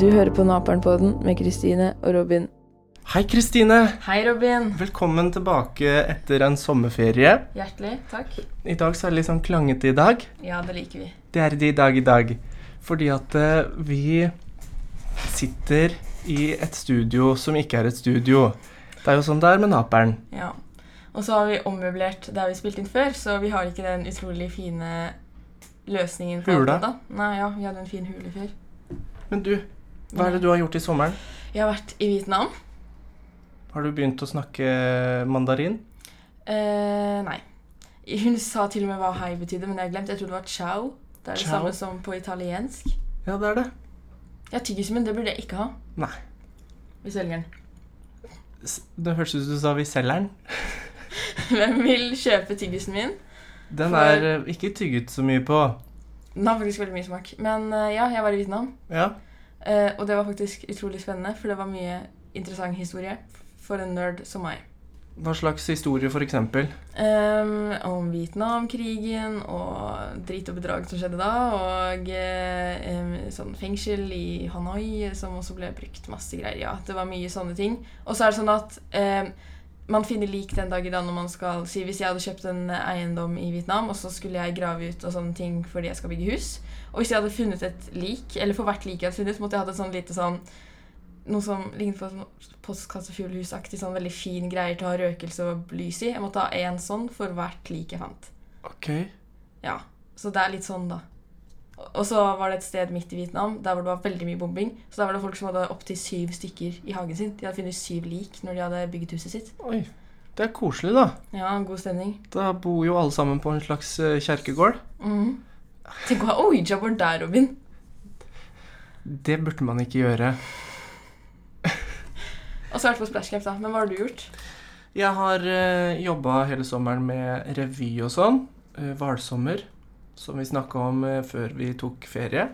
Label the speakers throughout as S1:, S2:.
S1: Du hører på Naperen-podden med Kristine og Robin.
S2: Hei, Kristine.
S1: Hei, Robin.
S2: Velkommen tilbake etter en sommerferie.
S1: Hjertelig takk.
S2: I dag så er det litt sånn klangete i dag.
S1: Ja, det liker vi.
S2: Det er det i dag i dag. Fordi at eh, vi sitter i et studio som ikke er et studio. Det er jo sånn det er med naperen.
S1: Ja. Og så har vi ommøblert der vi spilte inn før, så vi har ikke den utrolig fine løsningen. på
S2: Hula.
S1: alt dette. Nei, ja, vi hadde en fin hule før.
S2: Men du, hva er det du har gjort i sommeren?
S1: Jeg har vært i Vietnam.
S2: Har du begynt å snakke mandarin?
S1: Eh, nei. Hun sa til og med hva hei betydde, men det har jeg glemt. Jeg trodde det var ciao. Det er det
S2: Ciao.
S1: samme som på italiensk.
S2: Ja, det er det.
S1: Ja, tyggismen, det burde jeg ikke ha.
S2: Nei.
S1: Vi selger den.
S2: S- Det hørtes ut som du sa vi selger den.
S1: Hvem vil kjøpe tyggisen min?
S2: Den
S1: For-
S2: er eh, ikke tygget så mye på.
S1: Den har faktisk veldig mye smak. Men eh, ja, jeg var i Vietnam.
S2: Ja.
S1: Eh, og det var faktisk utrolig spennende, for det var mye interessant historie for en nerd som meg.
S2: Hva slags historie, for eksempel?
S1: Ehm, om Vietnamkrigen og drit og bedrag som skjedde da, og eh, em, sånn fengsel i Hanoi som også ble brukt masse greier. Ja, det var mye sånne ting. Og så er det sånn at em, man finner lik den dag i dag når man skal si Hvis jeg hadde kjøpt en eiendom i Vietnam, og så skulle jeg grave ut og sånne ting fordi jeg skal bygge hus, og hvis jeg hadde funnet et lik, eller for hvert lik jeg hadde funnet, så måtte jeg hatt et sånn lite sånn noe som lignet på sånn postkassefuglehusektig, sånn veldig fin greier til å ha røkelse og lys i. Jeg måtte ha én sånn for hvert lik jeg fant.
S2: Ok.
S1: Ja, Så det er litt sånn, da. Og- Og så var det et sted midt i Vietnam der hvor det var veldig mye bombing. Så der var det folk som hadde opptil syv stykker i hagen sin. De hadde funnet syv lik når de hadde bygget huset sitt.
S2: Oi, det er koselig, da.
S1: Ja, god stemning.
S2: Da bor jo alle sammen på en slags eh, kjerkegård.
S1: Mhm. Tenk å ha ouija-board der, Robin.
S2: Det burde man ikke gjøre.
S1: Og så vært på splashcamp, da. Men hva har du gjort?
S2: Jeg har eh, jobba hele sommeren med revy og sånn. Eh, Hvalsommer, som vi snakka om eh, før vi tok ferie.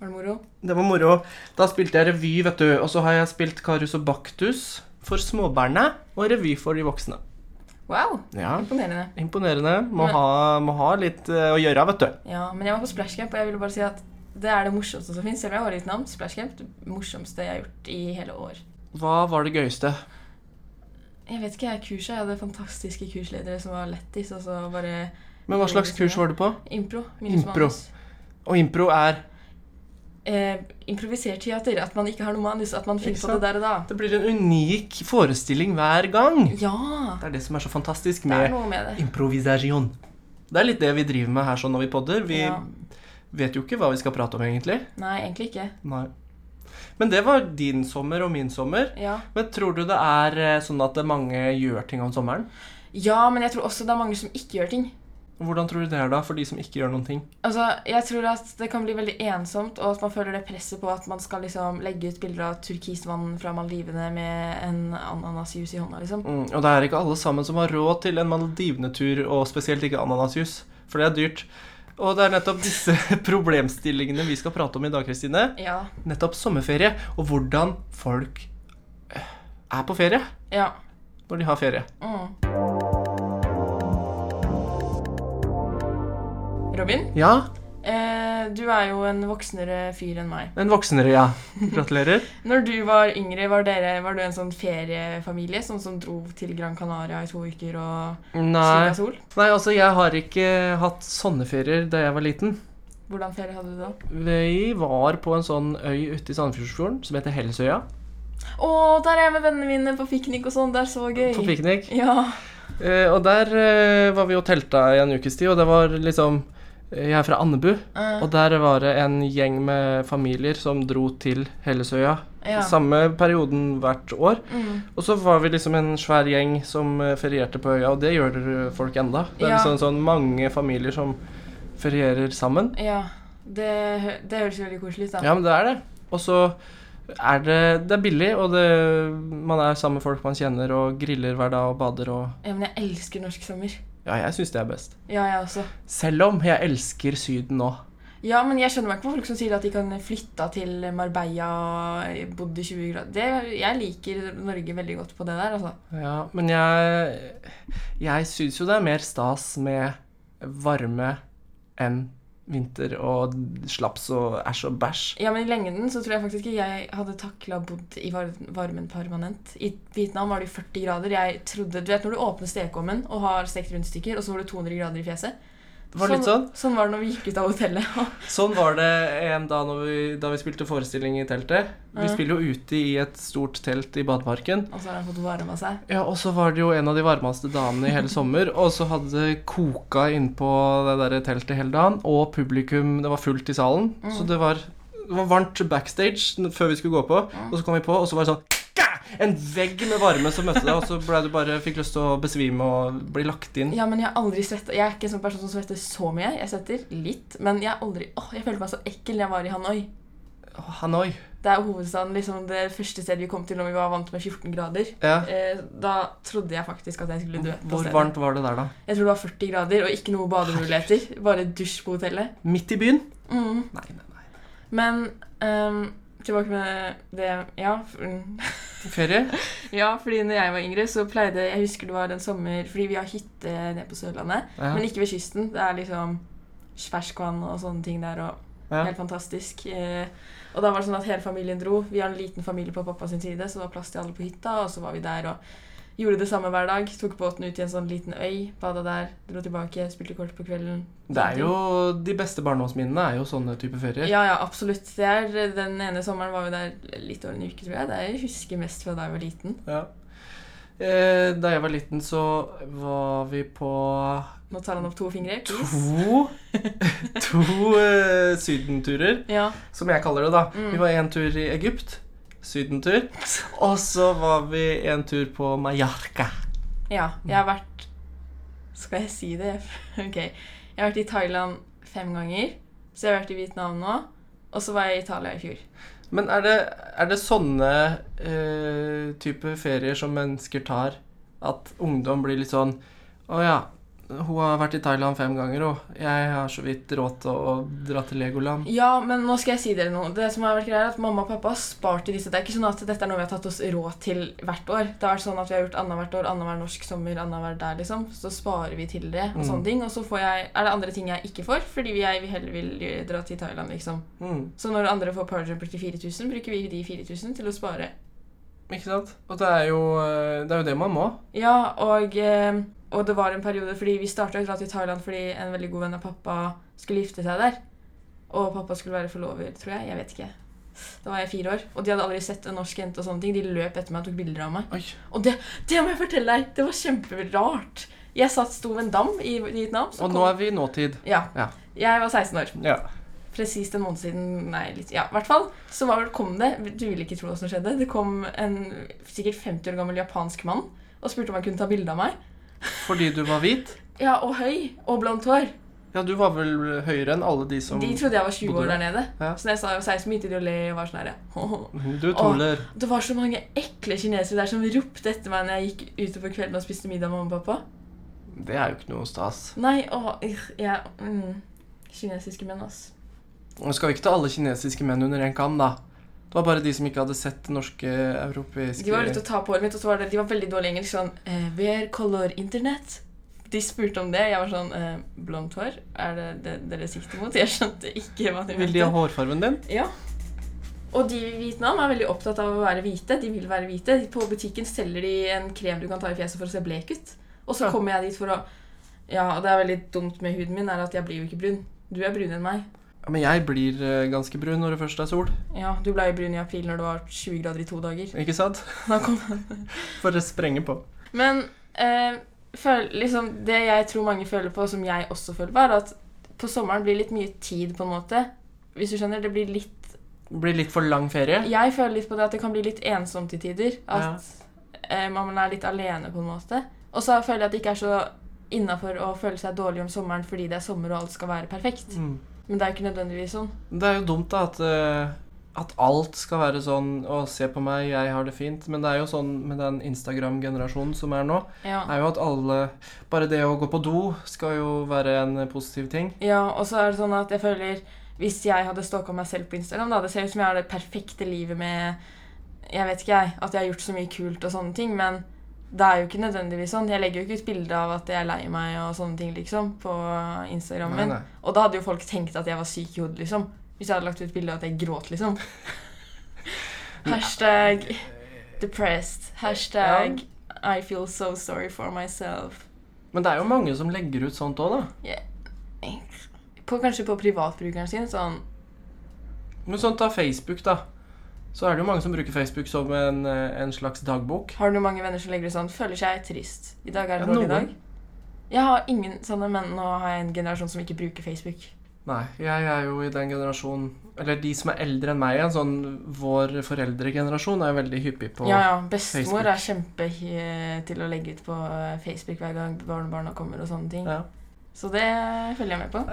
S1: Var det moro?
S2: Det var moro. Da spilte jeg revy, vet du. Og så har jeg spilt Karius og Baktus for småbarna og revy for de voksne.
S1: Wow,
S2: Ja,
S1: imponerende.
S2: Imponerende. Må
S1: Men-
S2: ha, må ha litt eh, å gjøre, vet du.
S1: Ja, men jeg var på splashcamp, og jeg ville bare si at det er det morsomste som fins. Selv om jeg var i Vietnam, splashcamp det morsomste jeg har gjort i hele år.
S2: Hva var det gøyeste?
S1: Jeg vet ikke, jeg kurset, jeg hadde fantastiske kursledere som var lettis, og så bare
S2: Men hva slags kurs var du på?
S1: impro. minus
S2: Impro.
S1: manus.
S2: Og impro er
S1: Eh, improvisert teater. At man ikke har noe manus, at man finner
S2: Ikke
S1: på det der og da.
S2: Det blir en unik forestilling hver gang.
S1: Ja!
S2: Det er det som er så fantastisk
S1: Det er
S2: med
S1: noe med det.
S2: improvisasjon. Det er litt det vi driver med her sånn når vi podder. Vi
S1: Ja.
S2: vet jo ikke hva vi skal prate om egentlig.
S1: Nei, egentlig ikke.
S2: Nei. Men det var din sommer og min sommer.
S1: Ja.
S2: Men tror du det er eh, sånn at det mange gjør ting om sommeren?
S1: ja, men jeg tror også det er mange som ikke gjør ting.
S2: Hvordan tror du det er da, for de som ikke gjør noen ting?
S1: Altså, Jeg tror at det kan bli veldig ensomt, og at man føler det presset på at man skal liksom legge ut bilder av turkisvann fra Maldivene med en ananasjuice i hånda, liksom.
S2: Mm, og det er ikke alle sammen som har råd til en Maldivene-tur, og spesielt ikke ananasjus, for det er dyrt. Og det er nettopp disse problemstillingene vi skal prate om i dag, Kristine.
S1: Ja.
S2: nettopp sommerferie, og hvordan folk eh, er på ferie
S1: Ja.
S2: når de har ferie.
S1: Mm. Robin?
S2: Ja,
S1: Eh, du er jo en voksnere fyr enn meg.
S2: en voksnere, ja. Gratulerer.
S1: Når du var yngre, var, dere, var du en sånn feriefamilie? Sånn som dro til Gran Canaria i to uker og
S2: Nei.
S1: skygga sol?
S2: Nei, altså, jeg har ikke hatt sånne ferier da jeg var liten.
S1: Hvordan ferie hadde du da?
S2: Vi var på en sånn øy ute i Sandefjordsfjorden som heter Hellesøya,
S1: Å, der er jeg med vennene mine på piknik og sånn. Det er så gøy.
S2: på piknik.
S1: Ja.
S2: Eh, og der eh, var vi og telta i en ukes tid, og det var liksom eh, Jeg er fra Andebu,
S1: Eh,
S2: og der var det en gjeng med familier som dro til Hellesøya.
S1: Eh, ja.
S2: Samme perioden hvert år.
S1: Mm.
S2: Og så var vi liksom en svær gjeng som eh, ferierte på øya, og det gjør eh, folk enda. Det er
S1: Ja.
S2: liksom sånn mange familier som ferierer sammen.
S1: ja. Det, hø- det høres veldig koselig ut, da.
S2: Ja, men det er det. Og så er det Det er billig, og det, man er sammen med folk man kjenner, og griller hver dag og bader og
S1: ja, men jeg elsker norsk sommer.
S2: Ja, jeg syns det er best.
S1: Ja, jeg også.
S2: Selv om jeg elsker Syden nå.
S1: Ja, men jeg skjønner meg ikke på folk som sier at de kan flytte til Marbella og bodd i 20 grader. Det, jeg liker Norge veldig godt på det der, altså.
S2: Ja, men jeg Jeg syns jo det er mer stas med varme enn vinter og slaps og æsj og bæsj.
S1: Ja, men I lengden så tror jeg faktisk ikke jeg hadde takla bodd i var varmen permanent. I Vietnam var det jo 40 grader. Jeg trodde, Du vet når du åpner stekeovnen og har stekt rundstykker, og så var det 200 grader i fjeset?
S2: Det var litt sånn.
S1: sånn var det når vi gikk ut av hotellet.
S2: Sånn var det en dag når vi, da vi spilte forestilling i teltet. Vi
S1: Ja.
S2: spiller jo ute i et stort telt i badeparken.
S1: Og så har han fått varma seg.
S2: Ja, og så var det jo en av de varmeste damene i hele sommer, og så hadde det koka innpå det der teltet hele dagen, og publikum, det var fullt i salen, så det var, det var varmt backstage n- før vi skulle gå på, og så kom vi på, og så var det sånn, "Gah!" en vegg med varme som møtte deg, og så ble du bare, fikk lyst til å besvime og bli lagt inn.
S1: Ja, men jeg har aldri svetta. Jeg er ikke en sånn person som svetter så mye. Jeg svetter litt, men jeg har aldri Åh, jeg følte meg så ekkel da jeg var i Hanoi.
S2: Å, Hanoi.
S1: Det er hovedstaden, liksom det første stedet vi kom til når vi var vant med 14 grader.
S2: Ja.
S1: Eh, da trodde jeg faktisk at jeg skulle dø. på
S2: Hvor
S1: stedet.
S2: varmt var det der da?
S1: Jeg tror det var 40 grader og ikke noe bademuligheter. Bare dusj på hotellet.
S2: Midt i byen?
S1: Mm.
S2: Nei, nei, nei.
S1: Men ehm, tilbake med det Ja. f- mm.
S2: Ferie?
S1: ja, fordi når jeg var yngre, så pleide Jeg husker det var en sommer Fordi vi har hytte nede på Sørlandet,
S2: Ja.
S1: men ikke ved kysten. Det er liksom ferskvann og sånne ting der. og
S2: Ja.
S1: Helt fantastisk. Eh, og da var det sånn at hele familien dro. Vi har en liten familie på pappa sin side, så det var plass til alle på hytta. Og så var vi der og gjorde det samme hver dag. Tok båten ut til en sånn liten øy, bada der, dro tilbake, spilte kort på kvelden.
S2: Det er jo, de beste barndomsminnene er jo sånne type ferier.
S1: Ja, ja, absolutt. Det er, den ene sommeren var vi der litt over en uke, tror jeg. Det er jeg husker mest fra da jeg var liten.
S2: Ja. Eh, Da jeg var liten, så var vi på
S1: Nå tar han opp to fingre. please.
S2: to To eh, sydenturer,
S1: Ja.
S2: som jeg kaller det, da. Vi var en tur i Egypt. Sydentur. Og så var vi en tur på Mallorca.
S1: ja. Jeg har vært Skal jeg si det? Ok. Jeg har vært i Thailand fem ganger. Så jeg har vært i Vietnam nå. Og så var jeg i Italia i fjor.
S2: Men er det, er det sånne eh, type ferier som mennesker tar, at ungdom blir litt sånn Å ja, hun har vært i Thailand fem ganger, hun. Jeg har så vidt råd til å dra til Legoland.
S1: Ja, men nå skal jeg si dere noe. Det som har vært greia er at Mamma og pappa har spart til disse. Det er ikke sånn at dette er noe vi har tatt oss råd til hvert år. Det har vært sånn at Vi har gjort annethvert år, annenhver norsk sommer, annenhver der. liksom. Så sparer vi til det. Og sånne ting. Og så får jeg, er det andre ting jeg ikke får, fordi jeg vil heller vil gjøre- dra til Thailand. liksom.
S2: Mm.
S1: Så når andre får powerjumper til 4000, bruker vi de 4000 til å spare.
S2: Ikke sant? Og det er jo eh, det, er jo det man må.
S1: Ja, og, eh, og det var en periode fordi vi starta å dra til Thailand fordi en veldig god venn av pappa skulle gifte seg der. Og pappa skulle være forlover, tror jeg. Jeg vet ikke. Da var jeg fire år, og de hadde aldri sett en norsk jente. og sånne ting. De løp etter meg og tok bilder av meg.
S2: Oi.
S1: Og det, det må jeg fortelle deg! Det var kjemperart. Jeg satt sto ved en dam i Vietnam. så
S2: Og
S1: kom-
S2: nå er vi i nåtid.
S1: Ja.
S2: Ja.
S1: Jeg var 16 år.
S2: Ja.
S1: Presist en måned siden. Nei, litt Ja, i hvert fall. Så var, kom det Du vil ikke tro hva som skjedde. Det kom en sikkert 50 år gammel japansk mann og spurte om han kunne ta bilde av meg.
S2: Fordi du var hvit.
S1: Ja, og høy og blondt hår.
S2: Ja, du var vel høyere enn alle de som
S1: De trodde jeg var 20
S2: bodde
S1: år der
S2: der.
S1: nede.
S2: Ja.
S1: Så da jeg sa jeg var 16, begynte de å le og var sånn her ja.
S2: Du tåler.
S1: Det var så mange ekle kinesere der som ropte etter meg når jeg gikk ute på kvelden og spiste middag med mamma og pappa.
S2: Det er jo ikke noe stas.
S1: Nei, åh, ugh, jeg mm, Kinesiske menn, ass.
S2: Nå skal vi ikke ta alle kinesiske menn under én kam, da. Det var bare de som ikke hadde sett norske, europeiske
S1: De var ute og ta på håret mitt, og så var det, de var veldig dårlig i engelsk. Sånn eh, Where color internet? De spurte om det. Jeg var sånn eh, Blondt hår? Er det det dere sikter mot? Jeg skjønte ikke hva de
S2: Vil de ha hårfargen din?
S1: Ja. Og de i Vietnam er veldig opptatt av å være hvite. De vil være hvite. På butikken selger de en krem du kan ta i fjeset for å se blek ut. Og så kommer jeg dit for å Ja, og det er veldig dumt med huden min, er at jeg blir jo ikke brun. Du er brunere enn meg.
S2: Ja, men jeg blir eh, ganske brun når det først er sol.
S1: Ja, du ble jo brun i april når det var 20 grader i to dager.
S2: Ikke sant?
S1: Da kom
S2: For å sprenge på.
S1: Men eh, føl, liksom, det jeg tror mange føler på, som jeg også føler på, er at på sommeren blir litt mye tid, på en måte. Hvis du skjønner, det blir litt
S2: Det blir litt for lang ferie.
S1: Jeg føler litt på det at det kan bli litt ensomt til tider. At eh, man er litt alene, på en måte. Og så føler jeg at det ikke er så innafor å føle seg dårlig om sommeren fordi det er sommer og alt skal være perfekt.
S2: Mm.
S1: Men det er jo ikke nødvendigvis sånn.
S2: Det er jo dumt da at, eh, at alt skal være sånn Å, se på meg, jeg har det fint. Men det er jo sånn med den Instagram-generasjonen som er nå,
S1: Ja.
S2: er jo at alle Bare det å gå på do skal jo være en positiv ting.
S1: ja, og så er det sånn at jeg føler Hvis jeg hadde stalka meg selv på Instagram, da Det ser ut som jeg har det perfekte livet med Jeg vet ikke, jeg. At jeg har gjort så mye kult og sånne ting. Men det er jo ikke nødvendigvis sånn. Jeg legger jo ikke ut bilde av at jeg er lei meg og sånne ting, liksom, på Instagram
S2: Nei,
S1: min.
S2: nei.
S1: Og da hadde jo folk tenkt at jeg var syk i hodet, liksom. Hvis jeg hadde lagt ut bilde av at jeg gråt, liksom. Hashtag depressed. Hashtag I feel so sorry for myself.
S2: Men det er jo mange som legger ut sånt òg, da.
S1: På, kanskje på privatbrukeren sin, sånn
S2: Men sånn ta Facebook, da. Så er det jo mange som bruker Facebook som en, eh, en slags dagbok.
S1: Har du mange venner som legger ut sånn 'Føler seg trist'. I dag er det
S2: Ja,
S1: en dårlig
S2: noen.
S1: dag. Jeg har ingen sånne, men nå har jeg en generasjon som ikke bruker Facebook.
S2: Nei, jeg er jo i den generasjonen Eller de som er eldre enn meg igjen, sånn vår foreldregenerasjon er jo veldig hyppig på
S1: Ja, ja. Bestemor
S2: Facebook.
S1: er kjempe eh, til å legge ut på eh, Facebook hver gang barnebarna kommer og sånne ting.
S2: Ja.
S1: Så det følger jeg med på.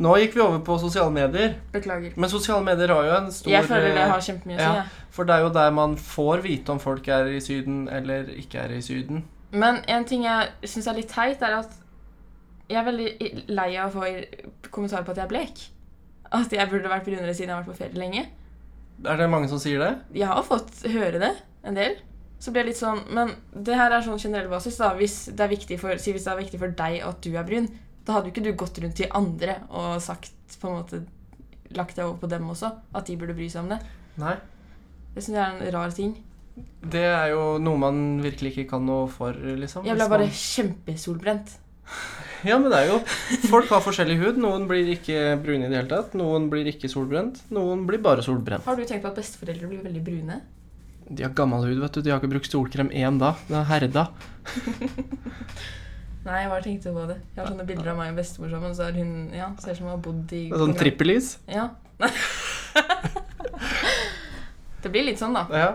S2: Nå gikk vi over på sosiale medier.
S1: Beklager.
S2: Men sosiale medier har jo en stor
S1: Jeg føler det
S2: eh,
S1: har kjempemye å si.
S2: ja.
S1: jeg.
S2: For det er jo der man får vite om folk er i Syden eller ikke er i Syden.
S1: Men en ting jeg syns er litt teit, er at jeg er veldig i- lei av å få i- kommentarer på at jeg er blek. At jeg burde vært brunere siden jeg har vært på ferie lenge.
S2: Er det mange som sier det?
S1: Jeg har fått høre det en del. Så blir jeg litt sånn Men det her er sånn generell basis. da, Hvis det er viktig for, si hvis det er viktig for deg at du er brun, da hadde jo ikke du gått rundt til andre og sagt på en måte Lagt deg over på dem også. At de burde bry seg om det.
S2: Nei.
S1: Det syns jeg er en rar ting.
S2: Det er jo noe man virkelig ikke kan noe for, liksom.
S1: Jeg
S2: hvis
S1: ble bare
S2: man...
S1: kjempesolbrent.
S2: Ja, men det er jo Folk har forskjellig hud. Noen blir ikke brune i det hele tatt. Noen blir ikke solbrent. Noen blir bare solbrent.
S1: Har du tenkt på at besteforeldre blir veldig brune?
S2: De har gammel hud, vet du. De har ikke brukt solkrem én da. Det er herda.
S1: Nei, jeg bare tenkte på det. Jeg har sånne bilder av meg og bestemor sammen. Så er hun, ja, ser ut som hun har bodd i
S2: Det er sånn trippelis.
S1: Ja. det blir litt sånn, da.
S2: Ja.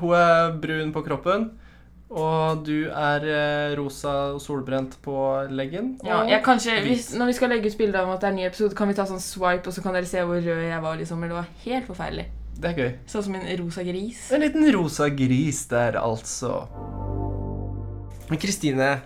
S2: Hun er brun på kroppen, og du er eh, rosa og solbrent på leggen.
S1: Ja,
S2: og-
S1: jeg kanskje,
S2: hvit.
S1: hvis, Når vi skal legge ut bilde av at det er en ny episode, kan vi ta sånn swipe, og så kan dere se hvor rød jeg var. liksom, eller Det var helt forferdelig.
S2: Det er gøy.
S1: Sånn som en rosa gris.
S2: En liten rosa gris der, altså. Men Kristine,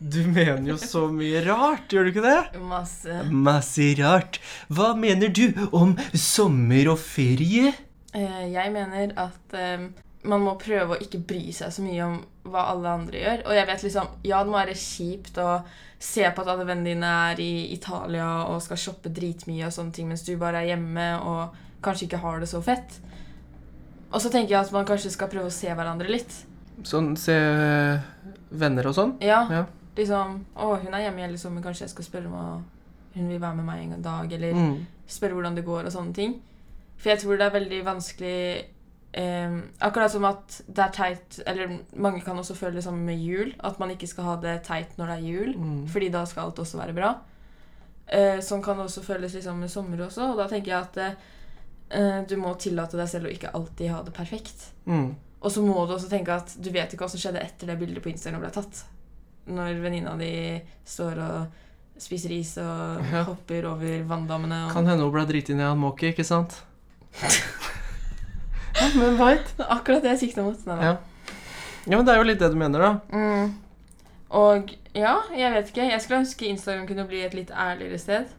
S2: du mener jo så mye rart, gjør du ikke det?
S1: Masse.
S2: Masse rart. Hva mener du om sommer og ferie?
S1: Eh, Jeg mener at eh, man må prøve å ikke bry seg så mye om hva alle andre gjør. Og jeg vet liksom, ja, det må være kjipt å se på at alle vennene dine er i Italia og skal shoppe dritmye og sånne ting, mens du bare er hjemme og kanskje ikke har det så fett. Og så tenker jeg at man kanskje skal prøve å se hverandre litt.
S2: Sånn, se venner og sånn.
S1: Ja,
S2: Ja.
S1: liksom Å, hun er hjemme hele sommeren, kanskje jeg skal spørre om hun vil være med meg en dag, eller
S2: Mm.
S1: spørre hvordan det går og sånne ting. For jeg tror det er veldig vanskelig eh, Akkurat som at det er teit Eller mange kan også føle det samme med jul. At man ikke skal ha det teit når det er jul,
S2: Mm.
S1: fordi da skal alt også være bra. Eh, sånn kan det også føles liksom med sommer også, og da tenker jeg at eh, eh, du må tillate deg selv å ikke alltid ha det perfekt.
S2: Mm.
S1: Og så må du også tenke at du vet ikke hva som skjedde etter det bildet på Instagram ble tatt. Når venninna di står og spiser is og
S2: Ja.
S1: hopper over vanndammene. Og...
S2: Kan hende hun ble driti ned av en måke, ikke sant? ja, men veit.
S1: Det er Akkurat det jeg sikta mot. Nei, da.
S2: Ja. ja, men det er jo litt det du mener, da.
S1: Mm. Og ja, jeg vet ikke. Jeg skulle ønske Instagram kunne bli et litt ærligere sted.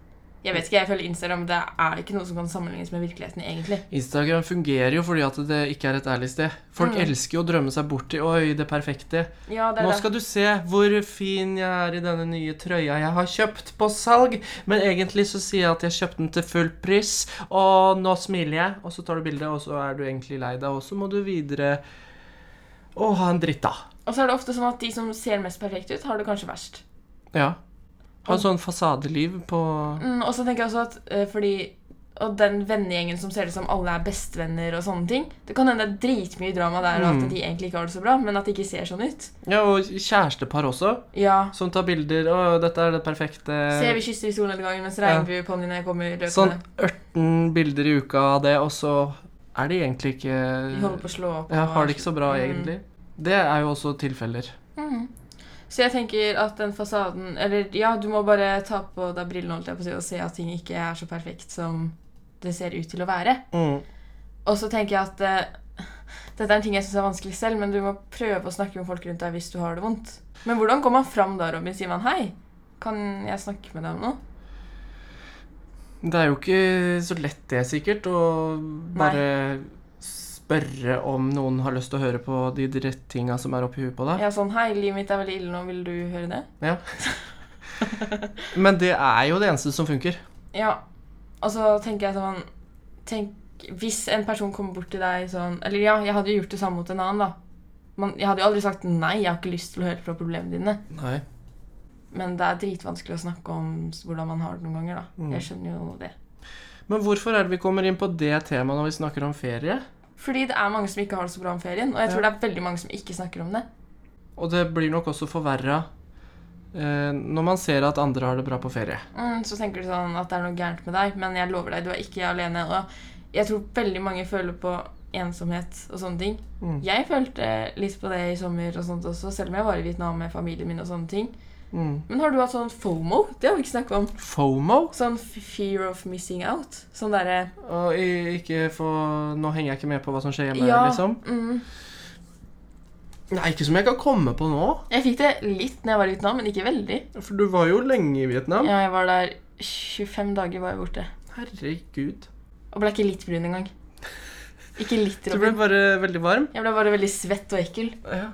S1: Jeg vet ikke, jeg føler Instagram det er ikke noe som kan sammenlignes med virkeligheten, egentlig.
S2: Instagram fungerer jo fordi at det ikke er et ærlig sted. Folk
S1: Mm.
S2: elsker jo å drømme seg bort til Oi, det perfekte.
S1: Ja, det er
S2: Nå
S1: det.
S2: skal du se hvor fin jeg er i denne nye trøya jeg har kjøpt på salg. Men egentlig så sier jeg at jeg kjøpte den til full pris, og nå smiler jeg. Og så tar du bildet, og så er du egentlig lei deg, og så må du videre Å, ha en dritt, da.
S1: Og så er det ofte sånn at de som ser mest perfekte ut, har det kanskje verst.
S2: Ja. Ha en sånn fasadeliv på
S1: Mm, og så tenker jeg også at eh, fordi Og den vennegjengen som ser ut som alle er bestevenner og sånne ting Det kan hende det er dritmye drama der, og
S2: Mm.
S1: at de egentlig ikke har det så bra, men at det ikke ser sånn ut.
S2: Ja, og kjærestepar også,
S1: Ja.
S2: som tar bilder. Å, dette er det perfekte
S1: Se, vi kysser i solnedgangen mens
S2: Eh, Ja.
S1: regnbueponniene kommer løpende.
S2: Sånn 18 bilder i uka av det, og så er de egentlig ikke
S1: De holder på å slå opp.
S2: ja,
S1: og-
S2: Har det ikke så bra,
S1: Mm.
S2: egentlig. Det er jo også tilfeller.
S1: Mhm. Så jeg tenker at den fasaden Eller ja, du må bare ta på deg brillene holdt jeg på å si, og se at ting ikke er så perfekt som det ser ut til å være.
S2: Mm.
S1: Og så tenker jeg at eh, dette er en ting jeg syns er vanskelig selv, men du må prøve å snakke med folk rundt deg hvis du har det vondt. Men hvordan går man fram da, Robin? Sier man hei? Kan jeg snakke med deg om noe?
S2: Det er jo ikke så lett det, sikkert, å bare s- spørre om noen har lyst til å høre på de dritt tinga som er oppi huet på deg.
S1: Ja, sånn Hei, livet mitt er veldig ille nå, vil du høre det?
S2: Ja. Men det er jo det eneste som funker.
S1: Ja. Og så tenker jeg sånn tenk, Hvis en person kommer bort til deg sånn Eller ja, jeg hadde jo gjort det samme mot en annen, da. Man, jeg hadde jo aldri sagt nei, jeg har ikke lyst til å høre på problemene dine.
S2: Nei.
S1: Men det er dritvanskelig å snakke om s- hvordan man har det noen ganger, da. Jeg skjønner jo det.
S2: Men hvorfor er det vi kommer inn på det temaet når vi snakker om ferie?
S1: Fordi det er mange som ikke har det så bra om ferien, og jeg tror det er veldig mange som ikke snakker om det.
S2: Og det blir nok også forverra eh, når man ser at andre har det bra på ferie.
S1: Mm, så tenker du sånn at det er noe gærent med deg, men jeg lover deg, du er ikke alene. Og jeg tror veldig mange føler på ensomhet og sånne ting.
S2: Mm.
S1: Jeg følte litt på det i sommer og sånt også, selv om jeg var i Vietnam med familien min og sånne ting.
S2: Mm.
S1: Men har du hatt sånn FOMO? Det har vi ikke snakket om.
S2: FOMO?
S1: Sånn f- fear of missing out. Sånn derre
S2: Og i- ikke få Nå henger jeg ikke med på hva som skjer hjemme,
S1: Ja.
S2: liksom.
S1: mm.
S2: Nei, ikke som jeg kan komme på nå.
S1: Jeg fikk det litt når jeg var i Vietnam, men ikke veldig.
S2: For du var jo lenge i Vietnam.
S1: Ja, jeg var der 25 dager var jeg borte.
S2: Herregud.
S1: Og ble ikke litt brun engang. Ikke litt
S2: Du ble
S1: Robin.
S2: bare veldig varm.
S1: Jeg ble bare veldig svett og ekkel.
S2: Ja.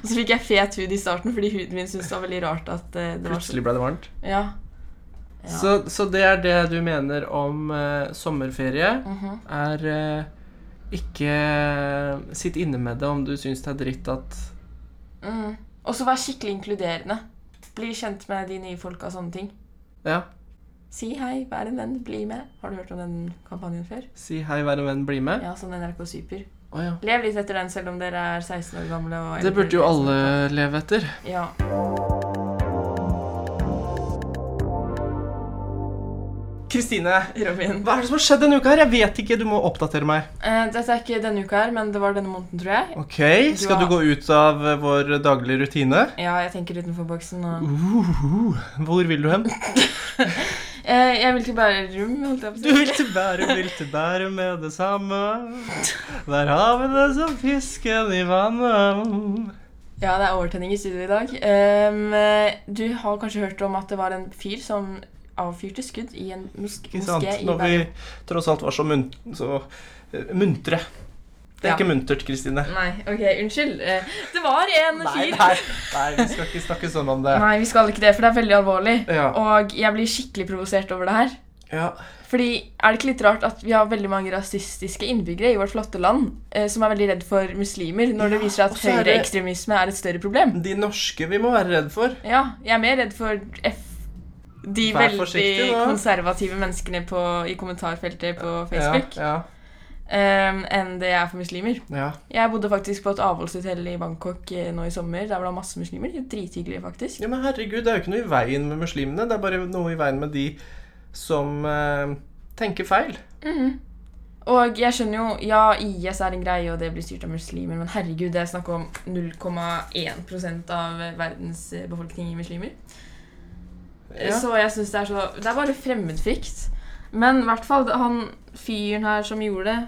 S1: Og så fikk jeg fet hud i starten fordi huden min syntes det var veldig rart at eh, det var så
S2: Plutselig ble det varmt.
S1: Ja. Ja.
S2: Så, så det er det du mener om eh, sommerferie,
S1: Mhm.
S2: er eh, ikke sitt inne med det om du syns det er dritt at
S1: Mm. Og så vær skikkelig inkluderende. Bli kjent med de nye folka og sånne ting.
S2: Ja,
S1: Si hei, vær en venn, bli med. Har du hørt om den kampanjen før?
S2: si hei, vær en venn, bli med.
S1: Ja, sånn NRK Super.
S2: Å ja.
S1: Lev litt etter den selv om dere er 16 år gamle. Og
S2: Det burde jo alle leve etter.
S1: Ja.
S2: Kristine,
S1: Robin.
S2: hva er det som har skjedd denne uka her? Jeg vet ikke, du må oppdatere meg.
S1: Eh, dette er ikke denne uka her, men det var denne måneden, tror jeg.
S2: Ok,
S1: skal
S2: skal
S1: du
S2: du gå ut av eh, vår daglige rutine?
S1: Ja, jeg tenker utenfor boksen og
S2: Hvor vil du hen?
S1: eh, Jeg vil til Bærum, holdt jeg på å si.
S2: Du vil til Bærum, vil til Bærum med det samme. Der har vi det som fisken i vannet.
S1: Ja, det er overtenning i studio i dag. Ehm, du har kanskje hørt om at det var en fyr som avfyrte skudd i en mos
S2: Ikke sant?
S1: moské i
S2: Når vi
S1: Bergen.
S2: tross alt var så, mun så eh, muntre. Det er
S1: Ja.
S2: ikke muntert, Kristine.
S1: Nei, ok, unnskyld. Eh, det var en
S2: Nei,
S1: fyr
S2: nei, nei, vi skal ikke snakke sånn om det.
S1: Nei, vi skal ikke det, for det er veldig alvorlig.
S2: Ja.
S1: Og jeg blir skikkelig provosert over det her.
S2: ja.
S1: Fordi er det ikke litt rart at vi har veldig mange rasistiske innbyggere i vårt flotte land eh, som er veldig redd for muslimer, når det viser seg
S2: og
S1: at
S2: så er det-
S1: høyreekstremisme er et større problem?
S2: De norske vi må være redd for.
S1: Ja, jeg er mer redd for F de
S2: Vær
S1: veldig
S2: forsiktig nå.
S1: konservative menneskene på, i kommentarfeltet på Facebook
S2: Ja,
S1: eh, enn det jeg er for muslimer.
S2: ja, ja.
S1: Jeg bodde faktisk på et avholdshotell i Bangkok eh, nå i sommer. Der var det masse muslimer. De er Drithyggelige, faktisk.
S2: ja, men herregud, det er jo ikke noe i veien med muslimene. Det er bare noe i veien med de som eh, tenker feil.
S1: Og jeg skjønner jo, ja, IS er en greie, og det blir styrt av muslimer, men herregud, det er snakk om 0,1 av verdens eh, befolkning i muslimer. Eh,
S2: Ja.
S1: Så jeg synes det er så Det er bare fremmedfrykt. Men i hvert fall, han fyren her som gjorde det